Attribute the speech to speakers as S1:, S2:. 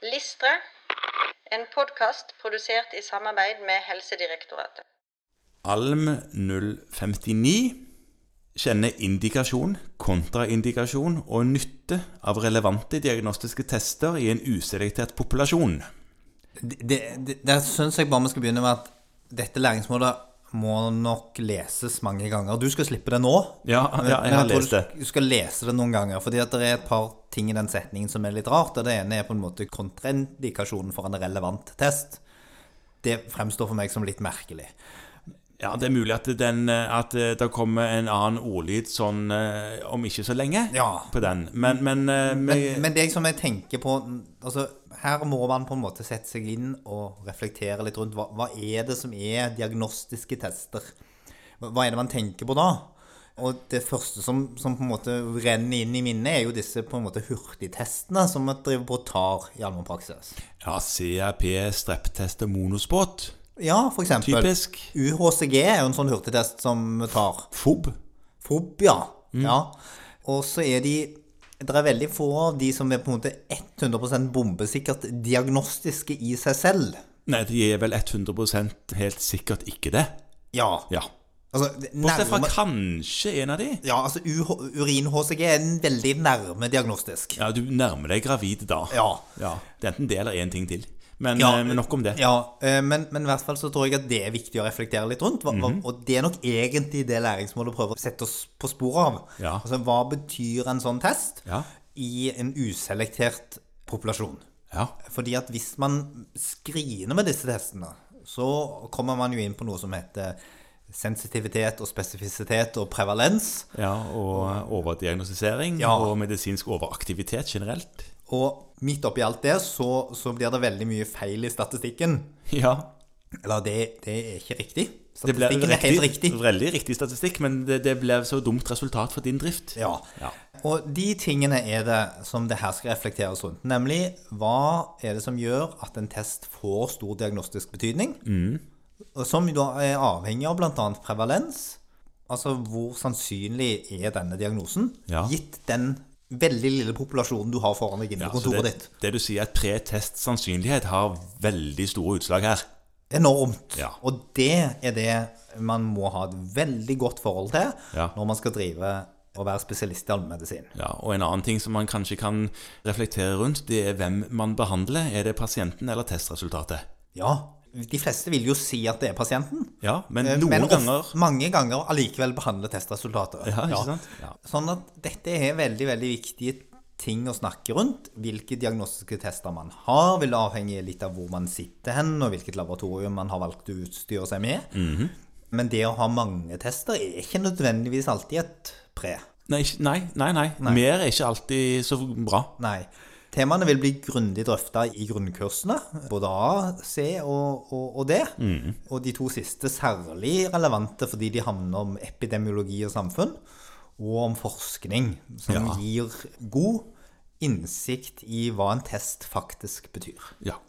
S1: Listre, en podkast produsert i samarbeid med Helsedirektoratet.
S2: Alm 059 kjenner indikasjon, kontraindikasjon og nytte av relevante diagnostiske tester i en uselektert populasjon.
S3: Det, det, der syns jeg bare vi skal begynne med at dette læringsmålet må nok leses mange ganger. Du skal slippe det nå.
S2: Ja, ja jeg har
S3: tror
S2: lest det.
S3: Du skal lese det noen ganger, fordi at det er et par ting i den setningen som er litt rart. og Det ene er på en måte kontraindikasjonen for en relevant test. Det fremstår for meg som litt merkelig.
S2: Ja, Det er mulig at, den, eh, at eh, det kommer en annen ordlyd sånn eh, om ikke så lenge
S3: Ja.
S2: på den. Men, men, eh, vi-
S3: Men det som jeg tenker på altså, Her må man på en måte sette seg inn og reflektere litt rundt hva, hva er det som er diagnostiske tester. Hva hva er det man tenker på da? Og det første som, som på en måte renner inn i minnet, er jo disse på en måte hurtigtestene som man driver på og tar i allmennpraksis.
S2: Ja, CRP, streptest og monospot.
S3: Ja, for eksempel.
S2: Typisk.
S3: UHCG er jo en sånn hurtigtest som vi tar.
S2: FOB.
S3: FOB, ja.
S2: Mm.
S3: ja. Og så er de Det er veldig få av de som er på en måte 100 bombesikkert diagnostiske i seg selv.
S2: Nei, de er vel 100 helt sikkert ikke det.
S3: Ja.
S2: Ja.
S3: Altså, det-
S2: Bortsett fra
S3: nærme,
S2: kanskje en av de.
S3: ja, altså UH urin-HCG er en veldig nærme diagnostisk.
S2: Ja, du nærmer deg gravid da.
S3: Ja.
S2: ja. Det er enten det eller én ting til. Men,
S3: Ja.
S2: eh, men nok om det.
S3: Ja, eh, men, men i hvert fall så tror jeg at det er viktig å reflektere litt rundt. Hva,
S2: Mhm.
S3: hva- Og det er nok egentlig det læringsmålet prøver å sette oss på sporet av.
S2: Ja.
S3: Altså, hva betyr en sånn test
S2: Ja.
S3: i en uselektert populasjon?
S2: Ja.
S3: Fordi at hvis man screener med disse testene, så kommer man jo inn på noe som heter sensitivitet og spesifisitet og prevalens.
S2: ja og overdiagnostisering
S3: Ja.
S2: og medisinsk overaktivitet generelt.
S3: Og midt oppi alt det, så, så blir det veldig mye feil i statistikken.
S2: Ja.
S3: Eller det, det er ikke riktig.
S2: Det blir
S3: Statistikken er helt riktig.
S2: veldig riktig statistikk, men det, det blir så dumt resultat for din drift.
S3: Ja.
S2: Ja.
S3: Og de tingene er det som det her skal reflekteres rundt. Nemlig hva er det som gjør at en test får stor diagnostisk betydning?
S2: Mm.
S3: Og Som da er avhengig av bl.a. prevalens. Altså hvor sannsynlig er denne diagnosen?
S2: Ja.
S3: Gitt den veldig lille populasjonen du har foran deg inne
S2: Ja,
S3: på
S2: så
S3: kontoret
S2: det,
S3: ditt.
S2: det du sier, at pretest sannsynlighet har veldig store utslag her.
S3: Enormt.
S2: Ja.
S3: Og det er det man må ha et veldig godt forhold til
S2: Ja.
S3: når man skal drive og være spesialist i allmennmedisin.
S2: Ja, og En annen ting som man kanskje kan reflektere rundt, det er hvem man behandler. Er det pasienten eller testresultatet?
S3: Ja, de fleste vil jo si at det er pasienten.
S2: Ja, men
S3: Eh,
S2: noen
S3: men of-
S2: ganger
S3: mange ganger allikevel behandler testresultatet.
S2: Ja, ikke sant? Ja.
S3: Sånn at dette er veldig, veldig viktige ting å snakke rundt. Hvilke diagnostiske tester man har, vil avhenge litt av hvor man sitter hen, og hvilket laboratorium man har valgt å utstyre seg med.
S2: Mhm.
S3: Men det å ha mange tester er ikke nødvendigvis alltid et pre.
S2: Nei, ikke- nei, nei, nei. Mer er ikke alltid så bra.
S3: Nei. Temaene vil bli grundig drøfta i grunnkursene, både A, C og, og, og D. Og de to siste særlig relevante fordi de handler om epidemiologi og samfunn, og om forskning, som
S2: Ja.
S3: gir god innsikt i hva en test faktisk betyr.
S2: Ja.